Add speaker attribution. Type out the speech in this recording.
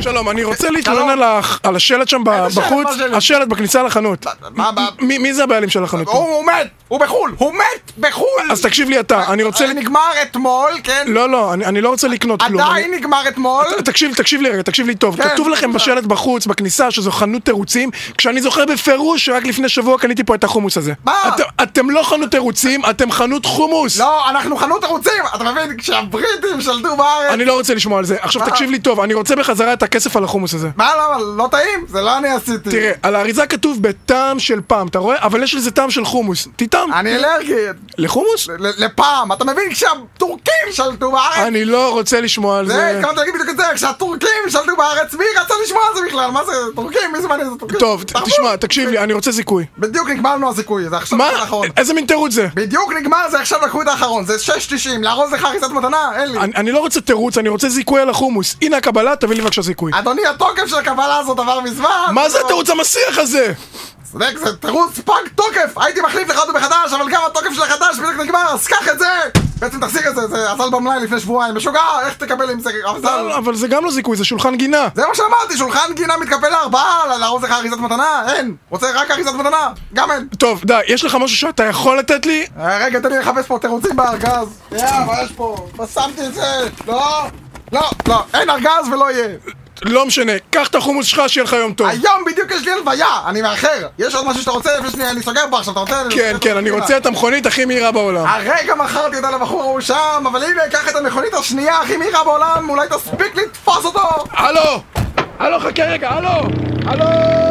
Speaker 1: שלום, אני רוצה להתלונן על ה- על השלט שם ב-
Speaker 2: איזה שלט?
Speaker 1: בחוץ,
Speaker 2: מה השלט?
Speaker 1: השלט בכניסה לחנות.
Speaker 2: מה, מה?
Speaker 1: מי מי זה הבעלים של החנות?
Speaker 2: הוא הוא מת, הוא בחו"ל, הוא מת בחו"ל!
Speaker 1: אז תקשיב לי אתה, אני רוצה...
Speaker 2: זה נגמר אתמול, כן?
Speaker 1: לא, לא, אני אני לא רוצה לקנות כלום.
Speaker 2: עדיין
Speaker 1: אני-
Speaker 2: נגמר אתמול.
Speaker 1: תקשיב, תקשיב לי רגע, תקשיב לי טוב.
Speaker 2: כן,
Speaker 1: כתוב לכם
Speaker 2: בבקשה.
Speaker 1: בשלט בחוץ, בכניסה, שזו חנות תירוצים, כשאני זוכר בפירוש שרק לפני שבוע קניתי פה את החומוס הזה.
Speaker 2: מה?
Speaker 1: אתם- אתם לא חנות תירוצים, אתם חנות חומוס.
Speaker 2: לא, אנחנו חנות ערוצים, אתה מבין? כשהבריטים שלטו בארץ...
Speaker 1: אני לא רוצה לשמוע על זה. עכשיו
Speaker 2: מה?
Speaker 1: תקשיב לי טוב, אני רוצה בחזרה את הכסף על החומוס הזה.
Speaker 2: מה, למה? לא טעים? זה לא אני עשיתי.
Speaker 1: תראה, על האריזה כתוב בטעם של פעם, אתה רואה? אבל יש לזה טעם של חומוס. תטעם.
Speaker 2: אני אלרגי.
Speaker 1: לחומוס?
Speaker 2: ל- לפעם, אתה מבין? כשהטורקים שלטו בארץ...
Speaker 1: אני לא רוצה לשמוע על
Speaker 2: זה,
Speaker 1: זה.
Speaker 2: התכוונתי להגיד בדיוק את זה, כשהטורקים שלטו בארץ, מי רצה לשמוע על זה בכלל? מה זה, טורקים? מי זמן איזה טורקים?
Speaker 1: טוב, ת-
Speaker 2: תרבות.
Speaker 1: תשמע, תקשיב לי, אני רוצה זיכוי.
Speaker 2: בדיוק נגמר לנו הזיכוי, זה עכשיו
Speaker 1: מה?
Speaker 2: האחרון.
Speaker 1: איזה מין תירוץ זה?
Speaker 2: בדיוק נגמר, זה עכשיו לקחו את האחרון, זה 6.90, לארוז לך אריזת מתנה, אין לי.
Speaker 1: אני אני לא רוצה תירוץ, אני רוצה זיכוי על החומוס. הנה הקבלה, תביא לי בבקשה זיכוי.
Speaker 2: אדוני, התוקף של הקבלה הזאת עבר מזמן.
Speaker 1: מה זה התירוץ המסיח הזה?
Speaker 2: צודק, זה תירוץ פג תוקף! הייתי מחליף לך אותו מחדש, אבל גם התוקף של החדש בדיוק נגמר, אז קח את זה! בעצם תחזיק את זה, זה אזל במלאי לפני שבועיים, משוגע, איך תקבל עם זה אזל?
Speaker 1: אבל- אבל זה גם לא זיכוי, זה שולחן גינה.
Speaker 2: זה מה שאמרתי, שולחן גינה מתקפל לארבעה, לארוז לך אריזת מתנה, אין! רוצה רק אריזת מתנה, גם אין!
Speaker 1: טוב, די, יש לך משהו שאתה יכול לתת לי?
Speaker 2: אה, רגע, תן לי לחפש פה תירוצים בארגז. יא, מה יש פה? מה שמתי את זה? לא! לא, לא, אין ארגז ולא יהיה.
Speaker 1: לא משנה, קח את החומוס שלך, שיהיה לך יום טוב.
Speaker 2: היום בדיוק יש לי הלוויה, אני מאחר. יש עוד משהו שאתה רוצה לפני שאני אני סוגר פה עכשיו, אתה רוצה?
Speaker 1: כן, כן, אני רוצה את המכונית הכי מהירה בעולם.
Speaker 2: הרגע מכרתי אותה לבחור ההוא שם, אבל הנה, קח את המכונית השנייה הכי מהירה בעולם, אולי תספיק לתפוס אותו!
Speaker 1: הלו! הלו, חכה רגע, הלו! הלו!